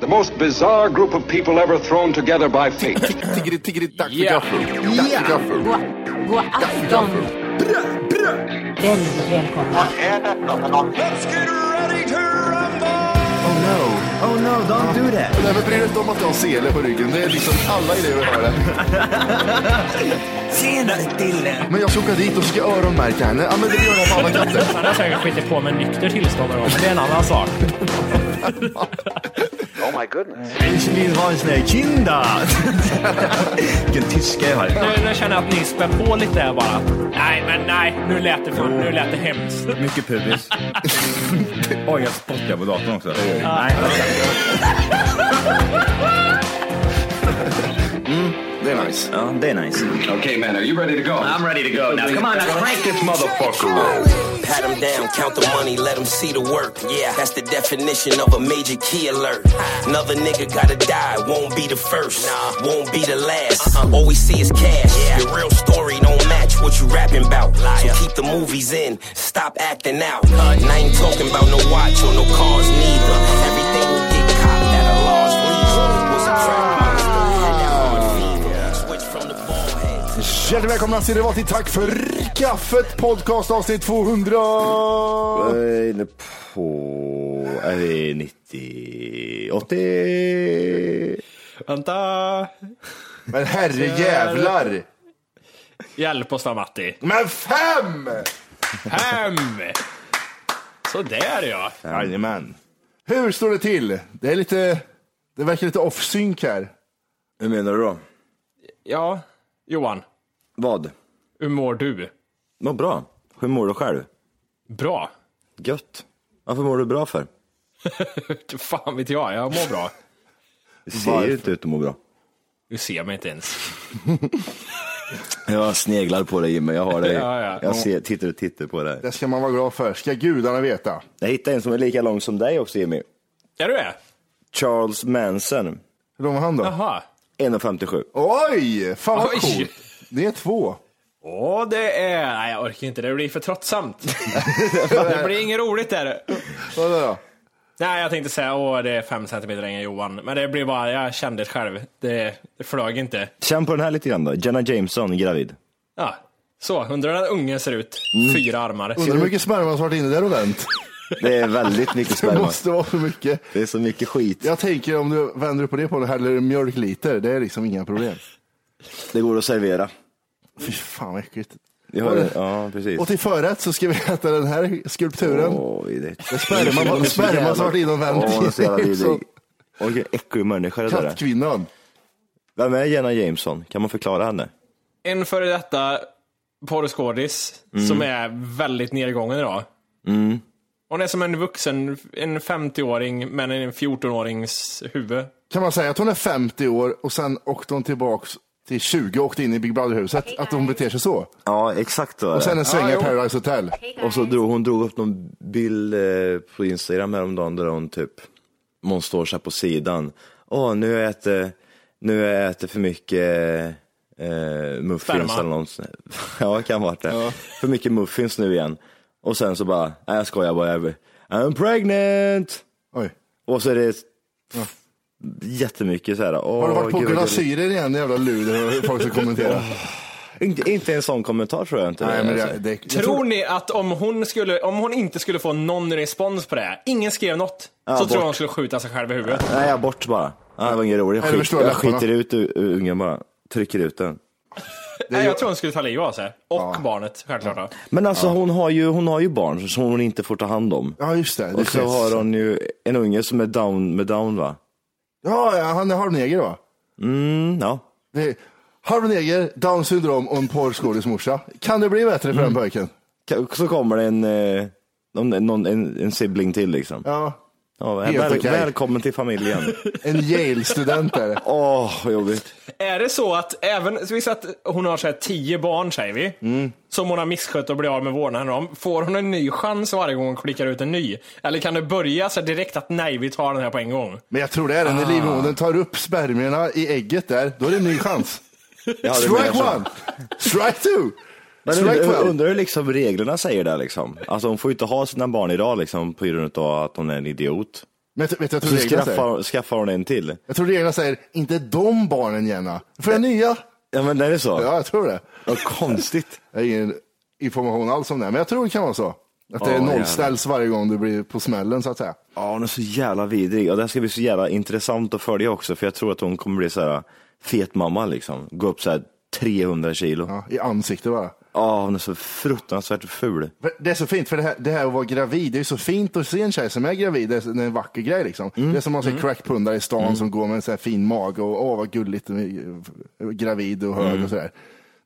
The most bizarre group of people ever thrown together by fate. Tiggeri, tiggeri, dack för gaffel. Dack för gaffel. God afton! Väldigt välkomna. Oh no. Oh no, don't do that. Nej, men bry dig inte om att jag har sele på ryggen. Det är liksom alla elever har det. Tjenare Dille! Men jag ska åka dit och ska öronmärka henne. Ja, men det gör jag på alla katter. Han har säkert skitit på med nykter tillstånd någon gång, men det är en annan sak. Ich will ha såna här kinder! Vilken tyska jag har. Nu, nu känner jag att ni spär på lite där bara. Nej, men nej. Nu lät det, för, nu lät det hemskt. Mycket pubis. Oj, jag spottar på datorn också. Nej. Det är nice. Ja, det är nice. okay, man, are you ready to go? I'm ready to go now. Come on, now crank this motherfucker. Pat them down, count the money, let them see the work. Yeah, that's the definition of a major key alert. Another nigga gotta die, won't be the first, nah, won't be the last. Uh-uh. All we see is cash. Your real story don't match what you rapping about. So keep the movies in, stop acting out. And I ain't talking about no watch or no cars neither. Everything will get copped at a large lease. Was a trap monster, had that hard fever. Switch from the ball head to Hjärtligt välkomna ska ni vara till Tack för kaffet podcast avsnitt 200. Jag är inne på... Är det 90... 80... Vänta! Men herrejävlar. Hjälp oss då, Matti. Men fem! Hem! Så där ja. Jajamän. Hur står det till? Det är lite... Det verkar lite off-sync här. Hur menar du då? Ja, Johan. Vad? Hur mår du? Må bra. Hur mår du själv? Bra. Gött. Varför mår du bra för? Fan vet jag, jag mår bra. Du ser ju inte ut att må bra. Du ser mig inte ens. Jag sneglar på dig Jimmy, jag har dig. Ja, ja. Jag ser, tittar och tittar på dig. Det ska man vara glad för. Ska gudarna veta. Jag hittade en som är lika lång som dig också Jimmy. Är du det? Charles Manson. Hur lång var han då? Jaha. 1,57. Oj! Fan vad Oj. coolt. Det är två. Åh, det är... Nej, jag orkar inte. Det blir för tröttsamt. det blir inget roligt där. Vad är det då? Nej, jag tänkte säga åh, det är fem centimeter längre än Johan. Men det blir bara, jag kände det själv. Det, det flög inte. Känn på den här lite grann då. Jenna Jameson, gravid. Ja, så. Undrar hur den ungen ser ut. Fyra armar. Mm. Undrar hur mycket sperma som varit inne där och vänt. Det är väldigt mycket Det sperma. måste vara så mycket. Det är så mycket skit. Jag tänker om du vänder upp på det på och häller mjölkliter, det är liksom inga problem. Det går att servera. Fy fan vad äckligt. Jag har det. Ja, precis. Och till förrätt så ska vi äta den här skulpturen. Åh, vidrigt. Sperma, sperma som varit inne och vänt. Åh, det är så jävla Så- vidrig. Åh, vilken äcklig människa det där är. Kattkvinnan. Vem är Jenna Jameson? Kan man förklara henne? En före detta porrskådis Mm. som är väldigt nedgången idag. Hon är som en vuxen, en 50-åring, men en 14-årings huvud. Kan man säga att hon är 50 år och sen åkte hon tillbaks till 20 och åkte in i Big Brother-huset? Att hon beter sig så? Ja, exakt så är Och sen det. en sväng i Paradise Hotel. Och så drog hon drog upp någon bild eh, på Instagram häromdagen där hon typ, hon står så här på sidan. Åh, nu har jag ätit, nu har jag ätit för mycket eh, muffins Sperma. eller något. sånt. ja, det kan vara det. För mycket muffins nu igen. Och sen så bara, nej jag skojar bara, jag, I'm pregnant! Oj. Och så är det jättemycket så här. Åh, Har du varit på gud, vad Gula gulligt. Syrer igen, jävla luder? Folk som kommenterar. Inte, inte en sån kommentar tror jag inte. Nej, men det- alltså. det- jag Tror ni att om hon, skulle, om hon inte skulle få någon respons på det, här, ingen skrev något, Ja, så bort. tror jag hon skulle skjuta sig själv i huvudet. Nej, jag bort bara. Ja, det var ingen roligt. Jag, Nej, det skit, förstår jag jag skiter läpparna. ut u- u- ungen bara. Trycker ut den. Nej, jag tror hon skulle ta livet av sig. Och barnet, självklart. då. Men alltså hon, har ju, hon har ju barn som hon inte får ta hand om. Ja, just det. det Och så känns- har hon ju en unge som är down med down va? Ja, ja, han är halvneger va? Mm, ja. Det är halvneger, down syndrom och en porrskådis morsa. Kan det bli bättre Mm. för den pojken? Ka- Så kommer det en, eh, någon, någon, en, en sibling till liksom. Ja. Ja, helt väl, okej. Välkommen till familjen. En Yale-student är det. Åh, vad jobbigt. Är det så att även, så vi säger att hon har så här tio barn säger vi, som hon har misskött och blivit av med vårdnaden om. Får hon en ny chans varje gång hon klickar ut en ny? Eller kan det börja så här direkt att nej, vi tar den här på en gång? Men jag tror det är det, Ah. när livmodern tar upp spermierna i ägget där, då är det en ny chans. Ja, det menar Strike jag så. one, strike two, Men strike undrar, twelve. undrar hur liksom reglerna säger det liksom. Alltså hon får ju inte ha sina barn idag liksom på grund av att hon är en idiot. Men vet, vet, jag, tror Så reglerna säger, skaffar, skaffar hon en till. jag tror reglerna säger, inte de barnen Jenna, för den nya. Ja men det är så. Ja, jag tror det. Vad konstigt. Jag har ingen information alls om det, men jag tror det kan vara så. Att det Ja, är nollställs varje gång du blir på smällen så att säga. Ja hon är så jävla vidrig och det här ska bli så jävla intressant att följa också för jag tror att hon kommer bli så här äh, fet mamma liksom. Gå upp så här 300 kilo. Ja Ja, I ansiktet bara. hon är så fruktansvärt ful. För Det är så fint, för det här, det här att vara gravid, det är så fint att se en tjej som är gravid, det är det är en vacker grej liksom. Mm. Det är som man ser crackpundare i stan som går med en sån här fin mage och åh vad gulligt, eh, gravid och hög Mm. och sådär.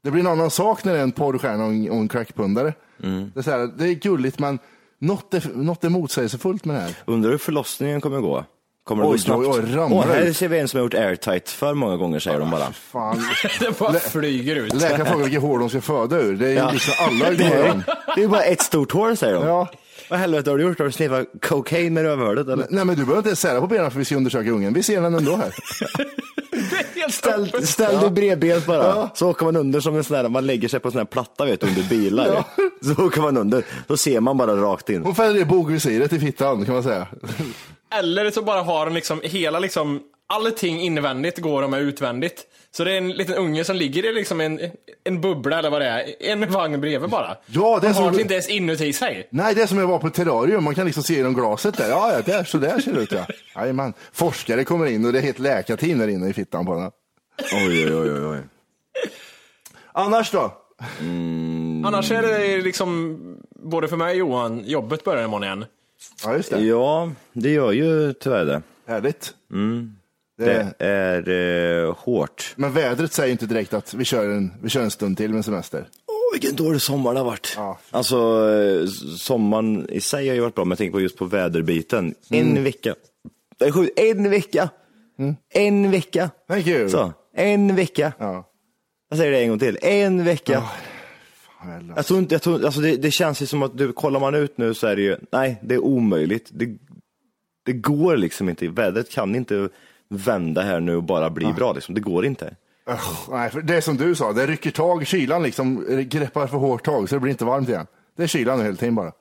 Det blir en annan sak när det är en porrstjärna och en, och en crackpundare. Mm. Det, är så här, det är gulligt men något är, något är motsägelsefullt med det här. Undrar hur förlossningen kommer gå. Kommer det Oj, gå snabbt? oj, oj, ramlar Åh, här ut. ser vi en som har gjort airtight för många gånger säger de bara. Fan. Det bara flyger ut. Läkaren frågar vilket hår de ska föda ur, det är ju Ja. liksom alla Det är, ögon. det är bara ett stort hår säger de. Ja. Vad helvete har du gjort? Har du sniffat cocaine med rövhålet eller? Nej men du behöver inte ens sära på benen för vi ska undersöka ungen, vi ser den ändå här. Helt Ställ, ställ dig bredbent bara, så åker man under som en sån där, man lägger sig på en sån här platta vet du, under bilar. Så åker man under, så ser man bara rakt in. Hon fäller i bogvisiret i fittan kan man säga. Eller så bara har den liksom hela liksom, allting invändigt går de med utvändigt. Så det är en liten unge som ligger i liksom en, en bubbla eller vad det är, en vagn bredvid bara. Ja, det är de har som- det inte ens inuti sig. Nej, det är som jag var på terrarium, man kan liksom se genom glaset där. Ja, ja där, så där ser det ut ja. Jajamän. Forskare kommer in och det är helt läkarteam där inne i fittan på den. Oj, oj, oj, oj, oj. Annars då? Annars är det liksom, både för mig och Johan, jobbet börjar imorgon igen. Ja, just det. Ja, det gör ju tyvärr det. Härligt. Mm. Det Det, är eh, hårt. men vädret säger ju inte direkt att vi kör en, vi kör en stund till med semester. Åh, vilken dålig sommar det har varit. Ja. Alltså, eh, sommaren i sig har ju varit bra, men jag tänker på just på väderbiten. En vecka. Mm. Det är sjukt, en vecka! En vecka! Thank you. Så, en vecka. Ja. Jag säger det en gång till, en vecka. Väl. Jag tror inte, jag tror, alltså det, det känns ju som att du, kollar man ut nu så är det ju, nej det är omöjligt. Det, det går liksom inte, vädret kan inte vända här nu och bara bli bra. Liksom. Det går inte. Ösch, Nej, för det är som du sa, det rycker tag, kylan liksom greppar för hårt tag så det blir inte varmt igen. Det är kylan hela tiden bara.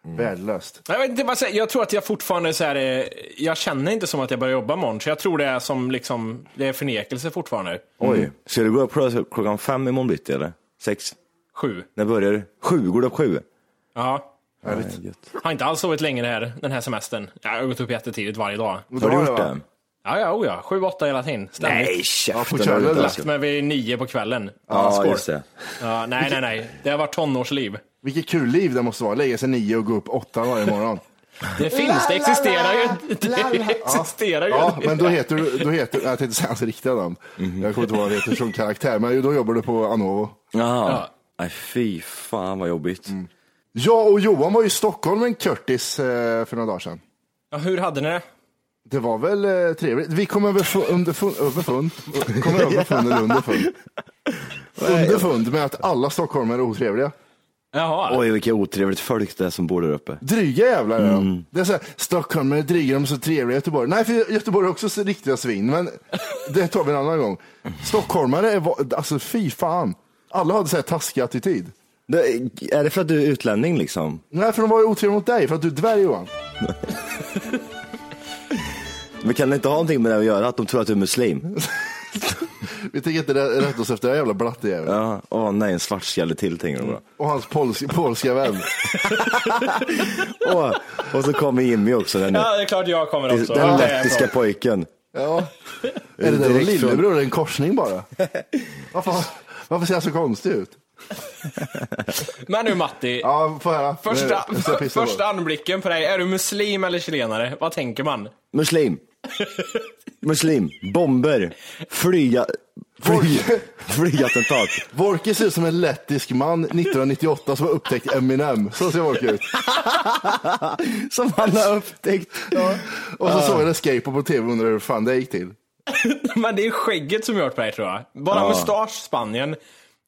Mm. Värdelöst. Jag, vet inte, vad jag säger. jag tror att jag fortfarande är så här, eh, jag känner inte som att jag börjar jobba imorgon, så jag tror det är som liksom, det är förnekelse fortfarande. Oj, ska du gå upp kl- klockan fem imorgon bitti eller? Sex? Sju. När börjar du? Sju, går du upp sju? Ja. Härligt. Har inte alls sovit länge det här, den här semestern. Jag har gått upp jättetidigt varje dag. Har du Bra, gjort va? det? Ja, ja, oh ja. Sju, åtta hela tiden. Ständigt. Nej, Ja, käften. på kvällen har du inte då. alltså. Lagt mig vid nio på kvällen. Ja, skål. just det. Ja, nej, nej, nej. Det har varit tonårsliv. Vilket kul liv det måste vara, lägga sig nio och gå upp åtta varje morgon. Det finns, det existerar ju. Det existerar ju. Ja, men då heter du, då heter, jag tänkte säga hans riktiga namn. Jag kommer inte ihåg vad han heter som karaktär, men då jobbar du på Anovo. Jaha. Nej, fy fan vad jobbigt. Jag och Johan var ju i Stockholm med en Curtis eh, för några dagar sedan. Ja, hur hade ni det? Det var väl eh, trevligt. Vi kom över fu- underfund, överfund, kom över fund eller underfund. Underfund med att alla stockholmare är otrevliga. Jaha. Oj, vilket otrevligt folk det är som bor där uppe. Dryga jävlar är Mm. de. Det är så här, stockholmare är dryga, de är så trevliga i Göteborg. Nej, för Göteborg är också så riktiga svin, men det tar vi en annan gång. Stockholmare är, va- alltså fy fan. Alla hade så här taskig attityd. Det, är det för att du är utlänning liksom? Nej, för de var ju otrevliga mot dig för att du är dvärg Johan. Men kan det inte ha någonting med det att göra, att de tror att du är muslim? Vi tänker inte rä- rätta oss efter den här jävla blattejäveln. Ja, åh nej, en svartskalle till tänker de då. Och hans polska, polska vän. Åh, och så kommer Jimmy också, den, Ja, det är klart jag kommer också. den Det är jag lettiska från. pojken. Ja. Är det där vår Direkt från- lillebror? En korsning bara? Varför, varför ser han så konstig ut? Men nu Matti, Ja, få höra. första, Nu ska jag pissa på. första anblicken på dig, är du muslim eller chilenare? Vad tänker man? Muslim. Muslim. Bomber. Flyga... Fly, flygattentat. Vorke ser ut som en lettisk man 1998 som har upptäckt Eminem. Så ser Vorke ut. Som han har upptäckt. Ja. Och så såg jag en skateboard på tv och undrade hur fan det gick till. Men det är skägget som gjort på dig tror jag. Bara mustasch Spanien,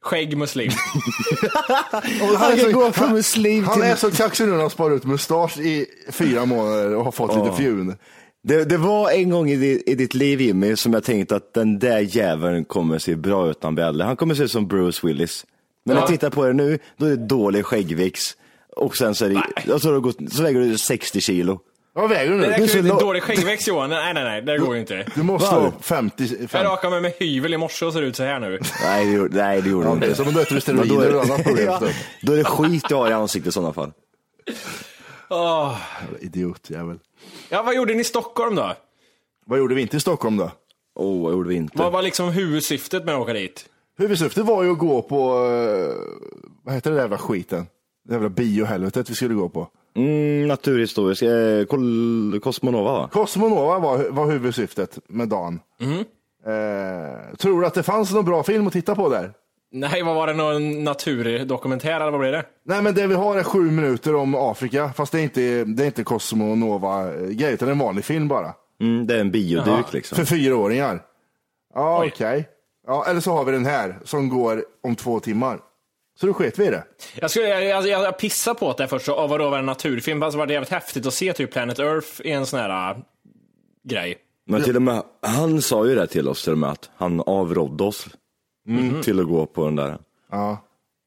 skägg muslim. Och Han kan så- gå från muslim Han till... är så kaxig nu när han sparar ut mustasch i fyra månader och har fått lite fjun. Det, det var en gång i, di- i ditt liv Jimmy som jag tänkte att den där jäveln kommer se bra ut när han blir äldre. Han kommer se ut som Bruce Willis. Men när jag tittar på det nu, då är det dålig skäggväxt. Och sen så, är det, och så, har det gått, så väger du 60 kilo. Vad väger du Det nu? räcker är ju så inte. lo- Dålig skäggväxt Johan. Nej, nej, nej. Det går ju inte. Du måste Var? ha 50. Jag 50. rakade mig med hyvel i morse och ser ut så här nu. Nej, det gjorde, nej, det gjorde Ja, du det är inte. som om du äter då, steroider är, och annat problem. ja, då är det skit jag har i ansiktet i sådana fall. Åh. Jävla Idiot, jävel. Ja, vad gjorde ni i Stockholm då? Vad gjorde vi inte i Stockholm då? Åh, vad gjorde vi inte? Vad var liksom huvudsyftet med att åka dit? Huvudsyftet var ju att gå på, eh, vad heter det där jävla skiten? Det jävla biohelvetet vi skulle gå på. Mm, naturhistorisk, eh, kol- Cosmonova va? Cosmonova var, var huvudsyftet med dagen. Mm. Eh, tror du att det fanns någon bra film att titta på där? Nej, vad var det? Någon naturdokumentär eller vad blev det? Nej, men det vi har är sju minuter om Afrika, fast det är inte, det är inte Cosmonova-grej, utan det är en vanlig film bara. Mm, det är en bioduk liksom. För fyraåringar. Ja, okej. Ja, eller så har vi den här som går om två timmar. Så då sket vi i det. Jag, skulle, jag, jag, jag, jag pissade på det där först, och vadå var det en naturfilm? Fast det var jävligt häftigt att se typ Planet Earth i en sån här äh, grej. Men till och med, han sa ju det till oss till och med, att han avrådde oss till att gå på den där. Mhm. Ja.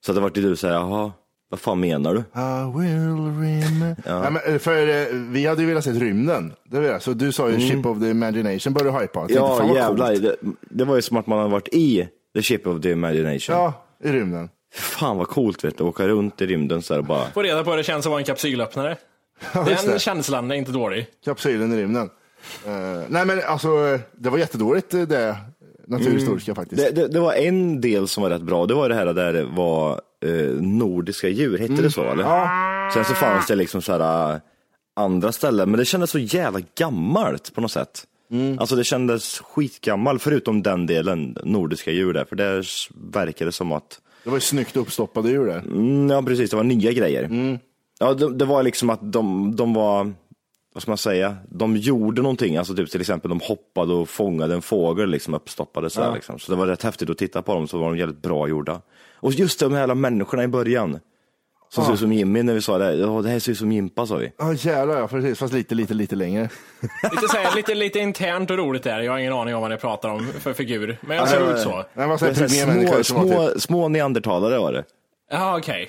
Så det vart ju du såhär, jaha, vad fan menar du? I will remember. Nej, men eh, för eh, vi hade ju velat se rymden. Det vill jag. Så du sa ju Ship of the Imagination började du hypa. Jag tänkte, fan Mm. Ja vad jävlar, coolt. det, det var ju som att man hade varit i the ship of the imagination. Ja, i rymden. Fan vad coolt vet du, åka runt i rymden så här och bara. Få reda på hur det känns att vara en kapsylöppnare. just Den det. känslan är inte dålig. Kapsylen i rymden. Eh, nej men alltså, eh, det var jättedåligt eh, det naturhistoriska faktiskt. Mm. Det, det, det var en del som var rätt bra, det var det här där det var eh, nordiska djur, hette det så eller? Sen så fanns det liksom så här eh, andra ställen, men det kändes så jävla gammalt på något sätt. Alltså det kändes skitgammal, förutom den delen, nordiska djur där, för där s- verkade det som att, Det var ju snyggt uppstoppade djur där. mm, ja precis, det var nya grejer. Ja, det, det var liksom att de, de var, vad ska man säga, de gjorde någonting, alltså typ till exempel de hoppade och fångade en fågel liksom uppstoppade så, här, liksom. så det var rätt häftigt att titta på dem, så var de jävligt bra gjorda. Och just de här jävla människorna i början, som ser ut som Jimmy när vi sa det, ja det här ser ut som Jimpa sa vi. Ja jävlar ja, precis. Fast lite, lite, lite längre. Lite, så här, lite, lite internt och roligt där. Jag har ingen aning om vad ni pratar om för figur. Men jag ser ut så. Nej, vad Det var säger så här pygmé-människor små, som var typ. små, små neandertalare var det. Ja, okej.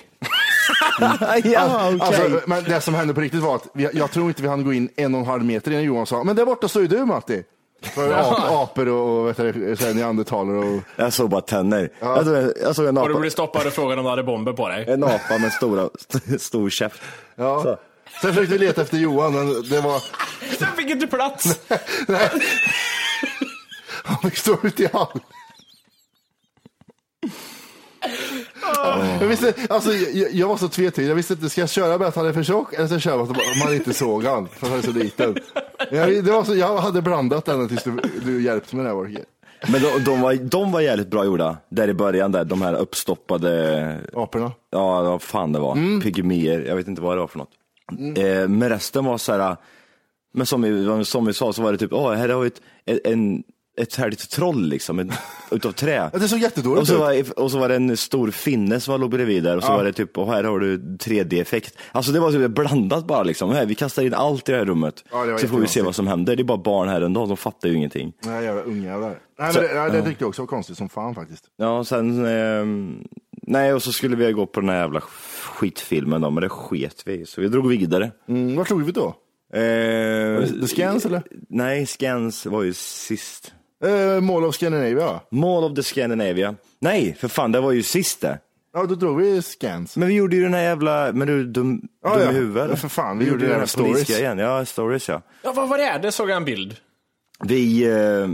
ja, okej. Alltså, men det som hände på riktigt var att vi, jag tror inte vi hann gå in en och en halv meter innan Johan sa, men där borta står ju du Matti. För ap, apor och, och vet du, så här neandertalare och jag såg bara tänder. Jag, såg, jag såg en Och du apa, blev stoppad och frågade om du hade bomber på dig. en apa med stora, stor käft. Ja. Så. Sen försökte vi leta efter Johan, men det var... Jag fick inte plats! Nej. Han fick stå ute i hallen. Jag, visste, alltså, jag, jag var så tvetydig. Jag visste inte, ska jag köra med att han är för tjock eller ska jag köra med att man inte såg han för att han är så liten? Jag, det var så, jag hade blandat ända tills du, du hjälpte mig där Wolke. Men de, de, var, de var jävligt bra gjorda, där i början, där, de här uppstoppade, Aporna. ja vad fan det var, Mm. pygméer, jag vet inte vad det var för något. Eh, men resten var så här, men som vi, som vi sa så var det typ, åh här har vi ett, en, ett härligt troll liksom, ett, utav trä. Ja, det såg jättedåligt Och så, ut. var, och så var det en stor finne som låg bredvid där och så var det typ, och här har du 3D-effekt. Alltså det var typ blandat bara liksom, här, vi kastar in allt i det här rummet. Ja, det var så får vi se jättekonstigt. vad som händer, det är bara barn här ändå, de fattar ju ingenting. Nej, jävla ungjävlar. Nej, men det, ja, det tyckte jag också var konstigt som fan faktiskt. Ja, och sen... ehm, nej, och så skulle vi gå på den här jävla skitfilmen då, men det sket vi i, Så vi drog vidare. Mm, vart låg vi då? Eh, The Scans, eller? Nej, Scans var ju sist. Eh, Mall of Scandinavia. Mall of the Scandinavia. Nej, för fan, det var ju sist det. Ja, då drog vi Scans. Men vi gjorde ju den här jävla, men du dum, Ja, dum ja. i huvudet. Ja, för fan, vi vi gjorde gjorde den här ju den här stories. polisgrejen. Ja, stories ja. Ja, vad var det? Det såg jag en bild. Vi, eh,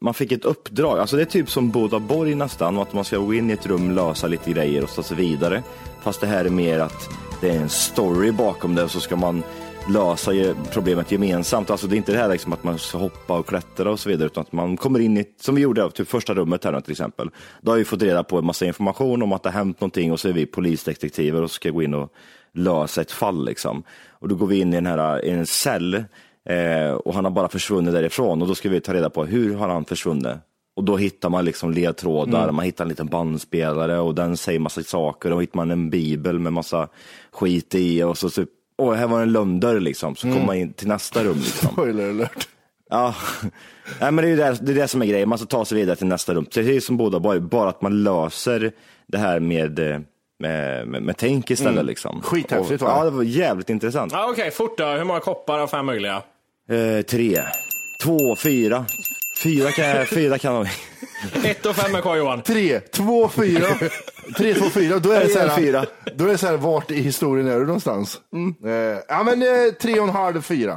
man fick ett uppdrag, alltså det är typ som Bodaborg nästan, att man ska gå in i ett rum, lösa lite grejer och ta sig vidare. Fast det här är mer att det är en story bakom det och så ska man lösa ge- problemet gemensamt. Alltså det är inte det här liksom att man ska hoppa och klättra och så vidare, utan att man kommer in i, som vi gjorde, typ första rummet här nu till exempel. Då har vi fått reda på en massa information om att det har hänt någonting och så är vi polisdetektiver och ska gå in och lösa ett fall liksom. Och då går vi in i, den här, i en cell Eh, och han har bara försvunnit därifrån och då ska vi ta reda på hur har han försvunnit? Och då hittar man liksom ledtrådar, man hittar en liten bandspelare och den säger massa saker och hittar man en bibel med massa skit i och så typ, åh här var en lönndörr liksom, så kommer man in till nästa rum liksom. Spoiler alert. Ja, Nej, men det är ju det, det, är det som är grejen. Man ska ta sig vidare till nästa rum. Precis som båda bara, bara att man löser det här med, eh, med, med, med tänk istället. Liksom. Skithäftigt, Och- va? Ja, det var jävligt intressant. Ja, Okej, fort då. Hur många koppar av fem möjliga? Eh, tre, två, fyra. Fyra kan, fyra kan de. Ett och fem är kvar Johan. Tre, två, fyra. Tre, två, fyra. Då är det så här, Fyra. Mm. Då är det så här, vart i historien är du någonstans? Eh, ja, men eh, tre och en halv, fyra.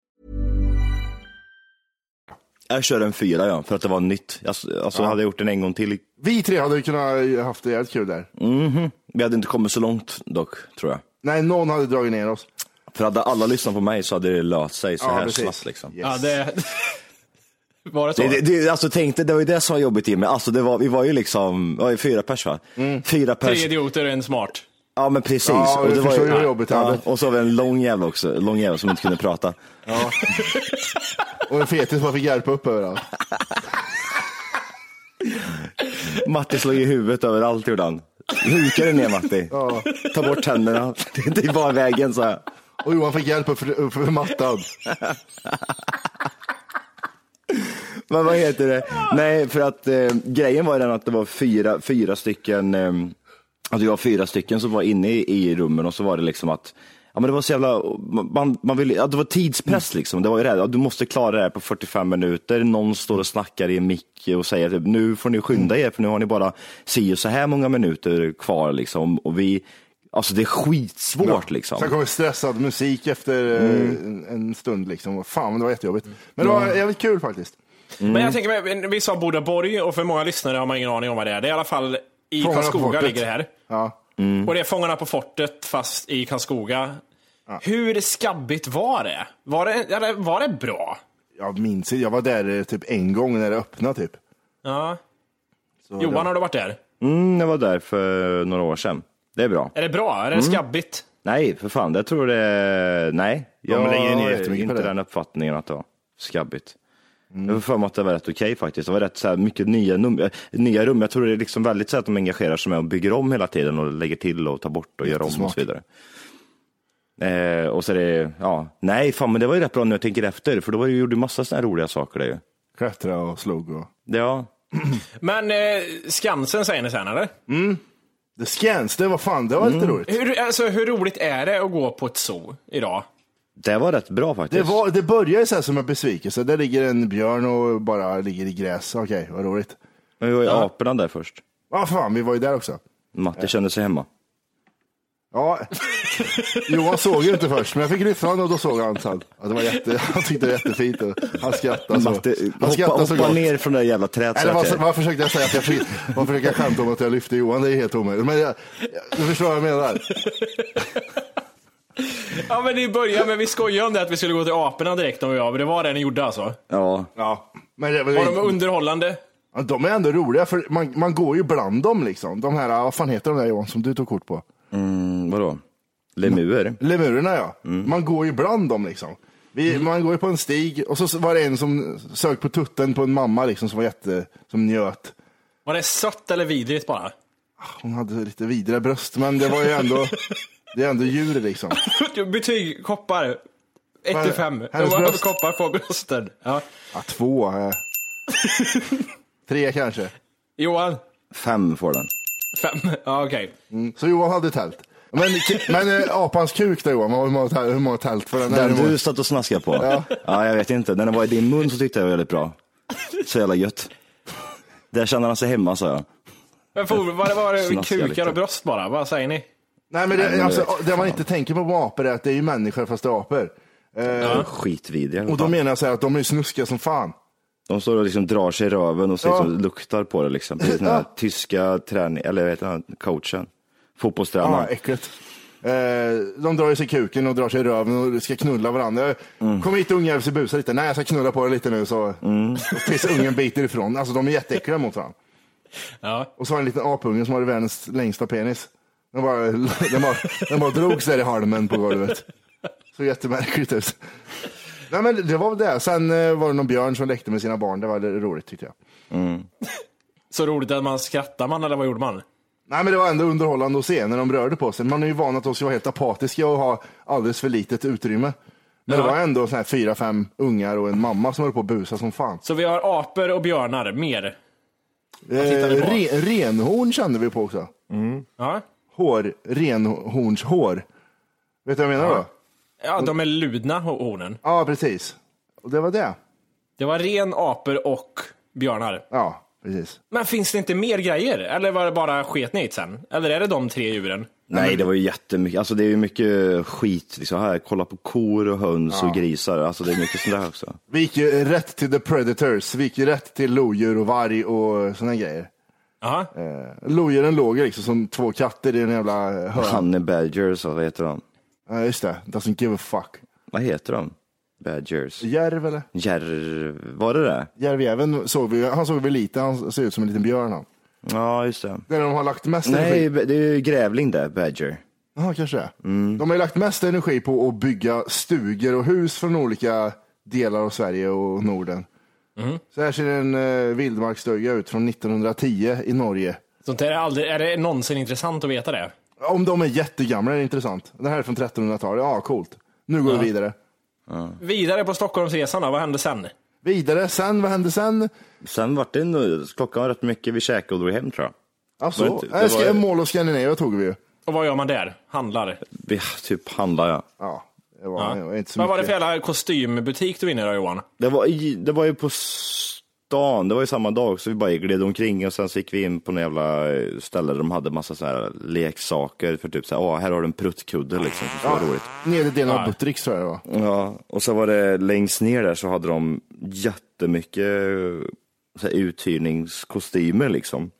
Jag kör en fyra ja, för att det var nytt. Alltså, alltså hade jag gjort den en gång till. Vi tre hade ju kunnat eh, haft det jävligt kul där. Mhm. Vi hade inte kommit så långt dock, tror jag. Nej, någon hade dragit ner oss. För hade alla lyssnat på mig så hade det löst sig så Ja, här precis. snabbt liksom. Ja, det... Var det så? Det, det, det, alltså tänk dig, det var ju det som var jobbigt i mig. Alltså det var, vi var ju liksom, var ju fyra pers va? Fyra Tre pers. idioter och en smart. Ja men precis. Mm. Ja, jag det var förstår ju hur jobbigt det hade varit. Och så var det en lång jävel också, en lång jävel som inte kunde prata. Och en fetis man fick hjälpa upp överallt. Matti slog i huvudet överallt gjorde han. Huka dig ner Matti. Ta bort tänderna. Det är bara vägen så här. Och Johan fick hjälp upp för, upp för mattan. Men vad heter det? Nej, för att eh, grejen var ju den att det var fyra, fyra stycken, eh, att vi var fyra stycken som var inne i, i rummen och så var det liksom att Ja, men det var så jävla, man, man ville, ja, det var tidspress liksom. Det var ju det här, ja, du måste klara det här på 45 minuter. Någon står och snackar i en mick och säger typ, nu får ni skynda er för nu har ni bara si och så här många minuter kvar liksom. Och vi, alltså det är skitsvårt liksom. Sen kommer stressad musik efter eh, Mm. en, en stund. Liksom. Fan, det var jättejobbigt. Men det var jävligt kul faktiskt. Mm. Men jag tänker, mig, vi sa Bodaborg och för många lyssnare har man ingen aning om vad det är. Det är i alla fall i Fångarna på Karlskoga fortet. ligger det här. Ja. Och det är Fångarna på fortet fast i Karlskoga. Hur skabbigt var det? Var det, eller var det bra? Jag minns inte, jag var där eh, typ en gång när det öppnade. Typ. Ja. Johan, har du varit där? Mm, jag var där för några år sedan. Det är bra. Är det bra? Är det skabbigt? Nej, för fan. Jag tror det... Nej, jag men lägger ju ner har jättemycket på inte det. Mm. den uppfattningen att det var skabbigt. Jag får för mig att det var rätt okej faktiskt. Det var rätt så här mycket nya, num- äh, nya rum. Jag tror det är liksom väldigt så att de engagerar sig med och bygger om hela tiden och lägger till och tar bort och gör om och så vidare. Eh, och så är det, ja, nej fan men det var ju rätt bra nu jag tänker efter för då var det, gjorde massa sådana roliga saker där ju. Klättra och slog och... Ja, Men eh, Skansen säger ni sen, eller? The Scans, det var fan, det var lite Mm. roligt. Hur, alltså, hur roligt är det att gå på ett zoo idag? det var rätt bra Det, faktiskt. var, det började så här som en besvikelse. Där ligger en björn och bara ligger i gräs. Okej, vad roligt. Men vi var ju aporna där först. Ja, fan, vi var ju där också. Matte kände sig hemma. Ja, Johan såg ju inte först, men jag fick lyssna och då såg han. Så han, att det var jätte, han tyckte det var jättefint och han skrattade så, Matte, Alltså, han hoppa, skrattade så hoppa gott. ner från det där jävla trädet. Eller så vad, att jag- vad försökte jag säga? Att jag försökte, vad försökte jag skämta om att jag lyfte Johan? Det är helt omöjligt. Men jag, jag, du förstår vad jag menar. Ja men i början, men vi skojade om det att vi skulle gå till aporna direkt om jag, men det var det ni gjorde alltså. Ja. ja. Men det, Var de underhållande? Ja, de är ändå roliga, för man, man går ju bland dem. liksom. De här, vad fan heter de där Johan, som du tog kort på? Mm, vadå? Lemur? Lemurerna ja. Man går ju bland dem liksom. Vi, Man går ju på en stig och så var det en som sög på tutten på en mamma liksom, som var jätte, som njöt. Var det sött eller vidrigt bara? Hon hade lite vidare bröst, men det var ju ändå, det är ändå djur liksom. Betyg, koppar. 1 till 5. Hur Hennes många bröst. koppar får brösten? Ja. Ja, två. eh. Tre kanske. Johan? Fem får den. Fem? Ja okej. Mm. Så Johan hade tält. Men, men eh, apans kuk då Johan, hur många tält, hur många tält för den? här Den nivån? du satt och snaskade på? Ja. Ja. jag vet inte. När den var i din mun så tyckte jag det var väldigt bra. Så jävla gött. Där känner han sig hemma, sa jag. Men for, vad det var det? Snaskar lite. Kukar och bröst bara? Vad säger ni? Nej men det, alltså, det man inte tänker på med apor är att det är ju människor fast det är apor. Eh, Skitvidriga. Och då menar jag så här att de är ju snuskiga som fan. De står och liksom drar sig i röven och så Ja. liksom luktar på det. Liksom. Precis den här tyska träning, eller vad heter han, coachen? Ja, Fotbollstränaren. äckligt. Eh, de drar ju sig i kuken och drar sig i röven och ska knulla varandra. Kom hit unge, jag ska busa lite. Nej, jag ska knulla på dig lite nu. Så och tills ungen biter ifrån. Alltså de är jätteäckliga mot varandra. Ja. Och så har jag en liten apunge som har världens längsta penis. Den bara, den bara, den bara drogs där i halmen på golvet. Så jättemärkligt ut. Nej, men det var väl det. Sen eh, var det någon björn som lekte med sina barn. Det var väldigt roligt tyckte jag. Så roligt att man skrattar man eller vad gjorde man? Nej, men det var ändå underhållande att se när de rörde på sig. Man är ju van att de ska vara helt apatiska och ha alldeles för litet utrymme. Men det var ändå så här fyra, fem ungar och en mamma som höll på att busa som fan. Så vi har apor och björnar, mer. Eh, tittade på. re, renhorn kände vi på också. Ja. Hår, renhornshår. Vet du vad jag menar då? Ja, de är ludna ho- hornen. Ja, precis. Och det var det. Det var ren apor och björnar. Ja, precis. Men finns det inte mer grejer? Eller var det bara sket ni i det sen? Eller är det de tre djuren? Nej, det var ju jättemycket. Alltså det är ju mycket skit. Liksom. Här, kolla på kor och höns och grisar. Alltså det är mycket sånt där också. Vi gick ju rätt till the predators. Vi gick ju rätt till lodjur och varg och sådana grejer. Aha. Eh, lodjuren låg ju liksom som två katter i en jävla hörn. Honey Badgers, vad heter de? Ja, just det. Doesn't give a fuck. Vad heter de? Badgers? Järv eller? Järv... Var det det? Järvjäveln såg vi, han såg vi lite, han ser ut som en liten björn han. Ja, just det. Det är de har lagt mest Nej, energi. det är ju grävling där, Badger. Ja, kanske det. De har ju lagt mest energi på att bygga stugor och hus från olika delar av Sverige och Norden. Så här ser en eh, vildmarksstuga ut från 1910 i Norge. Sånt där är, aldrig, är det någonsin intressant att veta det? Om de är jättegamla är det intressant. Det här är från 1300-talet, ja coolt. Nu går vi vidare. Vidare på Stockholmsresan då, vad hände sen? Vidare, sen, vad hände sen? Sen vart det nu, klockan var rätt mycket, vi käkade och drog hem tror jag. Alltså, Var det det inte- det äh, ska- var ju- Mall of Scandinavia tog vi ju. Och vad gör man där? Handlar? Vi typ handlade ja. Ja, det var, Ja. det var inte så Vad var det mycket. för jävla kostymbutik du var inne i då Johan? Det var, i, det var ju på stan, det var ju samma dag, så vi bara gled omkring och sen så gick vi in på några jävla eh, ställe där de hade massa så här leksaker för typ så här, "Åh, här har du en pruttkudde liksom, så det var roligt. Nedre delen av Buttericks tror jag det var. Ja, och så var det längst ner där så hade de jättemycket så här, uthyrningskostymer liksom.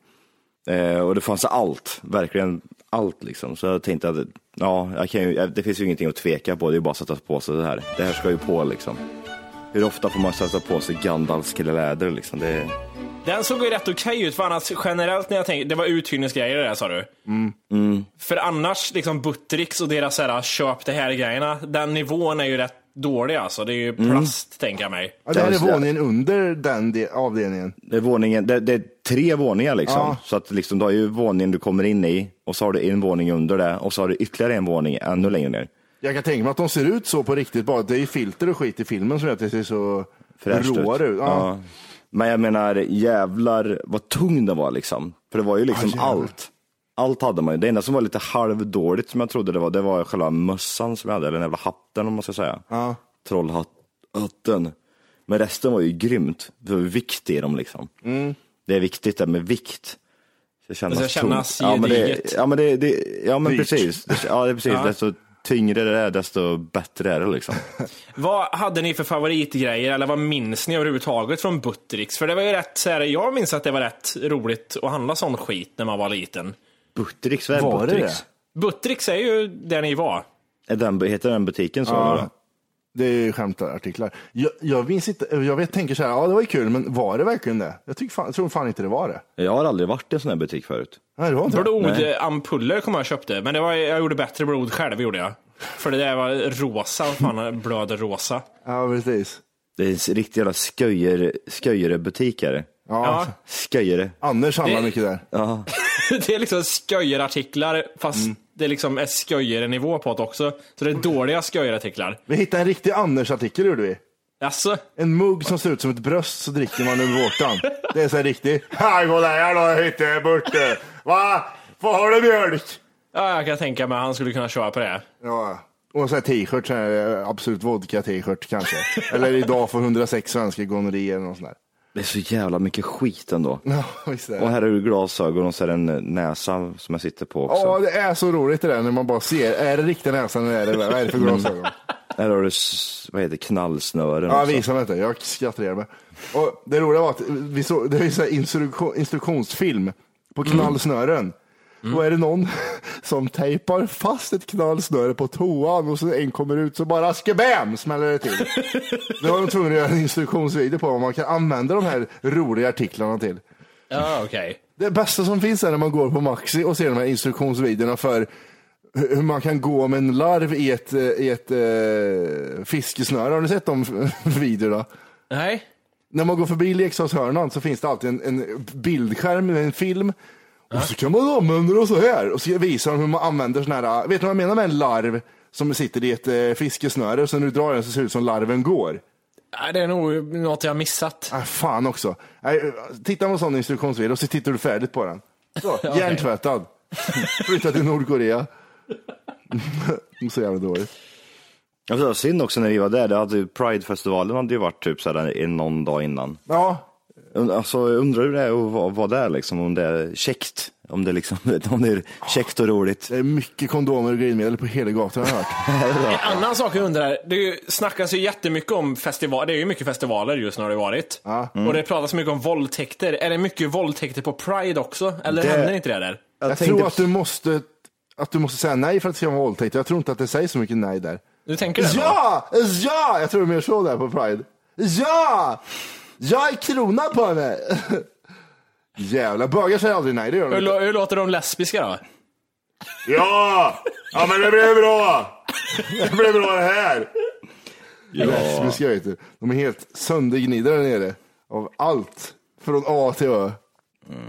Eh, och det fanns allt, verkligen allt liksom. Så jag tänkte att ja, jag kan ju, det finns ju ingenting att tveka på, det är ju bara att sätta på sig det här. Det här ska ju på liksom. Hur ofta får man sätta på sig Gandalfs läder liksom? Det är... Den såg ju rätt okej ut, för annars generellt när jag tänker, det var uthyrningsgrejer det där sa du. För annars, liksom Buttericks och deras så här, köp det här grejerna, den nivån är ju rätt dålig alltså. Det är ju plast, tänker jag mig. Ja, det här Ja, är just det. våningen under den de- avdelningen. Det är, våningen, det, det är tre våningar liksom. Ja. Så att liksom, du har ju våningen du kommer in i och så har du en våning under det och så har du ytterligare en våning ännu längre ner. Jag kan tänka mig att de ser ut så på riktigt bara. Det är ju filter och skit i filmen som gör att det ser så fräscht ut. råare ut. Ja. Ja. Men jag menar jävlar vad tung den var liksom. För det var ju Ah, liksom Ja, jävlar. allt. Allt hade man ju. Det enda som var lite halvdåligt som jag trodde det var, det var själva mössan som jag hade, eller den jävla hatten om man ska säga. Ja. Trollhatten. Men resten var ju grymt. Det var vikt i dem liksom. Det är viktigt det med vikt. Det Mm. Alltså, Det ska kännas ja, men det, gediget. ja men, det, det, ja, men Dyrt. precis. Det- Ja, det är precis. Ja. Desto tyngre det är, desto bättre är det liksom. Vad hade ni för favoritgrejer, eller vad minns ni överhuvudtaget från Buttericks? För det var ju rätt, så här, jag minns att det var rätt roligt att handla sån skit när man var liten. Buttericks, vad är Var det Buttericks? Buttericks är ju där ni var. Är den, heter den butiken så? Ja. eller? Det är ju skämtartiklar. Jag, jag minns inte, jag vet, tänker så här, ja det var ju kul, men var det verkligen det? Jag, tycker fan, jag tror fan inte det var det. Jag har aldrig varit i en sån här butik förut. Nej, det var inte det. Blodampuller kommer jag och köpte, men det var, jag gjorde bättre blod själv. gjorde jag. För det där var rosa, vad fan blöder rosa. Ja, precis. Det är en riktig jävla sköjer, sköjerebutik är det. Ja. Sköjere. Anders handlar Det- mycket där. Ja. det är liksom sköjerartiklar, fast det liksom är sköjerenivå på det också. Så det är dåliga sköjerartiklar. Vi hittade en riktig Anders-artikel gjorde vi. Alltså, En mugg som ser ut som ett bröst så dricker man ur vårtan. Det är så här riktigt. Här, kolla här då, jag hittade en burte. Va? Vad har du mjölk? ja, jag kan tänka mig att han skulle kunna köra på det. Ja. Och så här t-shirt, så här, eh, absolut vodka-t-shirt kanske. Eller idag får 106 svenska gonorré eller något sånt där. Det är så jävla mycket skit ändå. Ja, visst är det. Och här är det glasögon och så är det en näsa som jag sitter på också. Ja, det är så roligt det där när man bara ser. Är det riktiga näsan eller är det, vad är det för glasögon? Här har du, s- vad heter det, knallsnören Ja, också. visa mig inte. Jag skrattar ihjäl mig. Och det roliga var att vi såg, det är ju så här instruktion, instruktionsfilm på knallsnören. Då är det någon som tejpar fast ett knallsnöre på toan och så en kommer ut så bara skebam smäller det till. Då var de tvungna att göra en instruktionsvideo på vad man kan använda de här roliga artiklarna till. Ja, okej. Det bästa som finns är när man går på Maxi och ser de här instruktionsvideorna för hur hur man kan gå med en larv i ett, eh, i ett eh, fiskesnöre. Har ni sett de videorna? Nej. När man går förbi leksakshörnan så finns det alltid en, en bildskärm med en film. Och så kan man använda det så här. Och så visar de hur man använder sån här, äh, vet du vad jag menar med en larv som sitter i ett eh, fiskesnöre? Så när du drar den så ser det ut som larven går. Nej, Det är nog något jag missat. Ah, fan också. Nej, titta på en sån instruktionsvideo och så tittar du färdigt på den. Så, Okej. Hjärntvättad. Flyttad till Nordkorea. så jävla dåligt. Alltså, det var synd också när vi var där, det hade, ju- Pride-festivalen hade ju varit typ så här, en- någon dag innan. Ja, Und- Alltså jag undrar hur det är att vara- vara där liksom, om det är käckt. Om det, liksom, om det är käckt och roligt. det är mycket kondomer och glidmedel på hela gatan har jag hört. En annan sak jag undrar, det är ju, snackas ju jättemycket om festivaler, det är ju mycket festivaler just nu har det varit. Och det pratas mycket om våldtäkter. Är det mycket våldtäkter på Pride också? Eller Det- händer inte det där? Jag, tänkte- tror att du, måste, att du måste säga nej för att det ska vara våldtäkt. Jag tror inte att det sägs så mycket nej där. Du tänker det? va? Ja! Ja! Jag tror det är mer så där på Pride. Ja! Jag är krona på mig! Jävlar, bögar säger aldrig nej, det gör de Hur, inte. lå- hur låter de lesbiska då? Ja! Ja men det blev bra! Det blev bra det här! Ja. Lesbiska vet du. De är helt söndergnidda där nere. Av allt. Från A till Ö.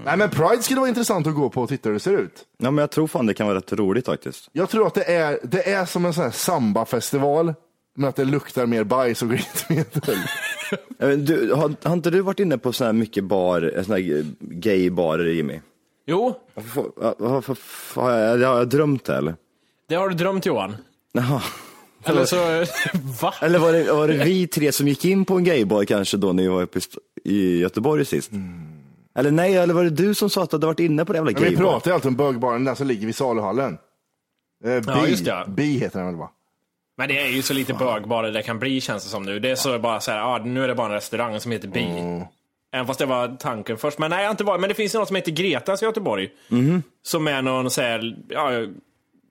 Nej men Pride skulle vara intressant att gå på och titta hur det ser ut. Ja, men jag tror fan det kan vara rätt roligt faktiskt. Jag tror att det är, det är som en sån här samba-festival. Men att det luktar mer bajs och glittermedel. Ja, men Du, har, har inte du varit inne på såna här mycket bar, såna här gaybarer Jimmy? Jo, Varför- varför- Har jag, har jag drömt det eller? det har du drömt Johan. Jaha. Eller så, va? Eller var det, var det vi tre som gick in på en gaybar kanske då när vi var uppe i St- i Göteborg sist? Eller nej, eller var det du som sa att du hade varit inne på det jävla Men Mm. vi gaybar? pratar ju alltid om bögbaren, den som ligger vid saluhallen. Eh, bi, Ja, just det, ja. bi heter den väl va? Men det är ju så lite bögbar det kan bli känns det som nu. Det är så bara så här, ah, nu är det bara en restaurang som heter Bi. Mm. Även fast det var tanken först. Men nej, jag har inte varit. Men det finns ju något som heter Gretas i Göteborg. Mhm. Som är någon så här, ja,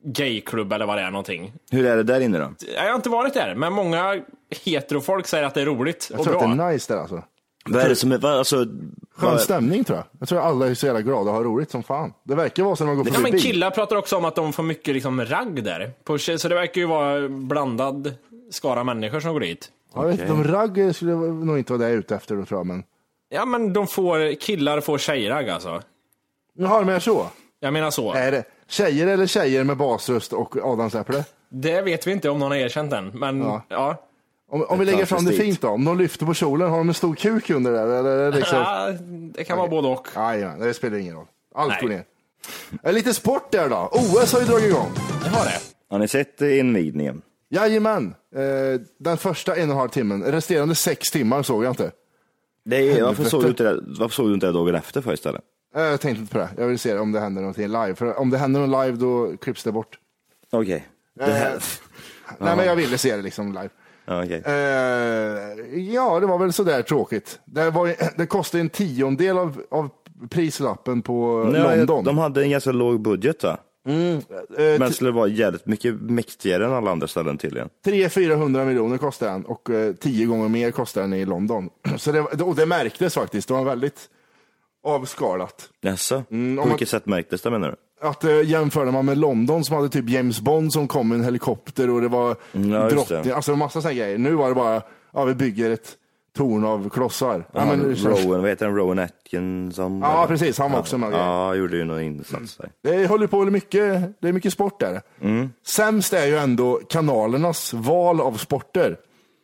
gayklubb eller vad det är någonting. Hur är det där inne då? Jag har inte varit där, men många heterofolk säger att det är roligt Jag och tror bra. att det är nice där alltså. Vad är det som är, vad, alltså, Skön vad, stämning tror jag. Jag tror alla är så jävla glada och har roligt som fan. Det verkar vara så när man går Ja, förbi men bil. killar pratar också om att de får mycket liksom, ragg där. På, tje- så det verkar ju vara blandad skara människor som går dit. Ja, jag vet, inte, De ragg skulle nog inte vara där ute efter då tror jag. Men... Ja, men de får, killar får tjejragg alltså. Jaha, de är så? Jag menar så. Är det tjejer eller tjejer med basröst och adamsäpple? Det vet vi inte om någon har erkänt än, men ja. Ja. ja. Om, om vi lägger fram det transvestit. fint då, om de lyfter på kjolen, har de en stor kuk under där? Eller, eller liksom... det kan vara både och. Jajamän, det spelar ingen roll. Allt Nej. går ner. Eh, Lite sport där då. OS har ju dragit igång. Det har det. har ni sett eh, invigningen? Jajamän, eh, den första en och en halv timmen. Resterande sex timmar såg jag inte. Det är, varför, Helvete. såg du inte det, varför såg du inte det dagen efter för istället? Eh, Jag tänkte inte på det. Jag vill se om det händer någonting live. För om det händer något live då klipps det bort. Okej. Det Eh, här- Nej, men jag ville se det liksom live. Ja, okej. Eh, ja, det var väl sådär tråkigt. Det, var, ju- det kostade en tiondel av, av prislappen på Nej, London. Eh, De hade en ganska låg budget va? Men t- skulle vara jävligt mycket mäktigare än alla andra ställen tydligen. 300-400 miljoner kostade den och eh, tio gånger mer kostade den i London. Så det, var- och det märktes faktiskt. Det var väldigt avskalat. Jaså? Mm, om På man- vilket sätt märktes det menar du? Att eh, jämförde man med London som hade typ James Bond som kom med en helikopter och det var Mm, ja, just det. drottning, alltså en massa sådana grejer. Nu var det bara, ja vi bygger ett torn av klossar. Ja, Ja, men, det känns- Rowan, vad heter han? Rowan Atkinson? Ja, eller? precis, han var också med. Ja, han gjorde ju någon insats där. det håller på med mycket, det är mycket sport där. Mm. Sämst är ju ändå kanalernas val av sporter.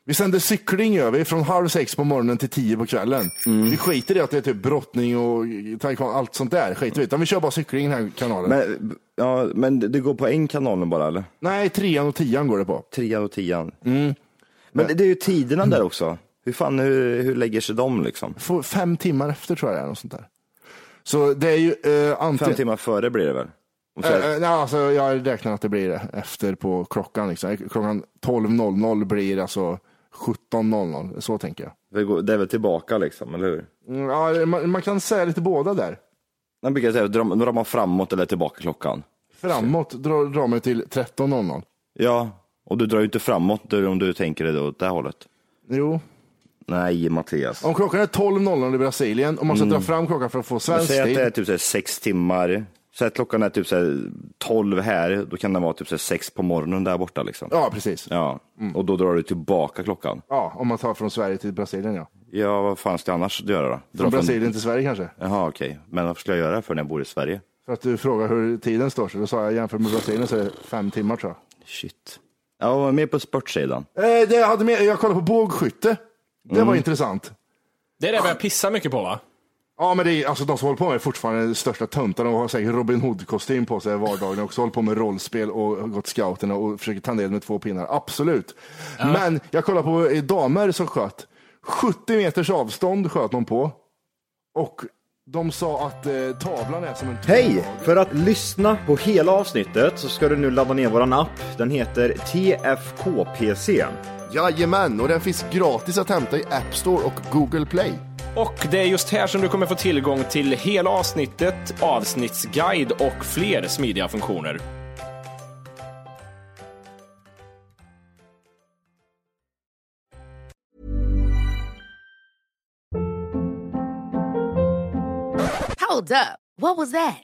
Vi sänder cykling gör vi från halv sex på morgonen till tio på kvällen. Mm. Vi skiter i att det är typ brottning och taekwondo, allt sånt där. Skiter vi i, utan vi kör bara cykling i den här kanalen. Men, ja, men det går på en kanal nu bara eller? Nej, trean och tian går det på. Trean och tian. Mm. Men det är ju tiderna där också. Hur fan, hur, hur lägger sig de liksom? Får fem timmar efter tror jag det är. Något sånt där. Så det är ju eh, Fem antingen... timmar före blir det väl? Om så här- Eh, eh, nej, alltså, jag räknar att det blir det efter på klockan. Liksom. Klockan 12.00 blir alltså 17.00. Så tänker jag. det går- det är väl tillbaka liksom, eller hur? Mm, ja, man, man kan säga lite båda där. Man brukar säga, drar drar man framåt eller tillbaka klockan? Framåt drar drar man till 13.00. Ja, och du drar ju inte framåt du- om du tänker det då, åt det här hållet. Jo, Nej, Mattias. om klockan är 12.00 i Brasilien och man ska dra fram klockan för Mm. att få Men svensk Säg att tid. det är typ så här sex timmar. Säg att klockan är typ så här 12 här, då kan den vara typ så här sex på morgonen där borta liksom. Ja, precis. Ja, Mm. och då drar du tillbaka klockan. Ja, om man tar från Sverige till Brasilien ja. Ja, vad fan ska jag annars göra då? Dra Från Brasilien till Sverige kanske. Jaha, okej. Men varför skulle jag göra det för när jag bor i Sverige? För att du frågar hur tiden står sig, då sa jag jämfört med Brasilien så är det fem timmar tror jag. Shit. Ja, vad var mer på sportsidan. Eh, det jag, hade med, jag kollade på bågskytte. Det var intressant. Det är det vi har pissat mycket på va? Ja, men det är, alltså, de som håller på med är fortfarande de största töntarna och har säkert Robin Hood-kostym på sig vardagen och också håller på med rollspel och har gått scouterna och försöker tandela med två pinnar. Absolut. Men jag kollar på eh, damer som sköt. 70 meters avstånd sköt de på. Och de sa att eh, tavlan är som en Hej! För att lyssna på hela avsnittet så ska du nu ladda ner våran app. Den heter TFKPC. Jajamän, och den finns gratis att hämta i App Store och Google Play. Och det är just här som du kommer få tillgång till hela avsnittet, avsnittsguide och fler smidiga funktioner. Hold up. What was that?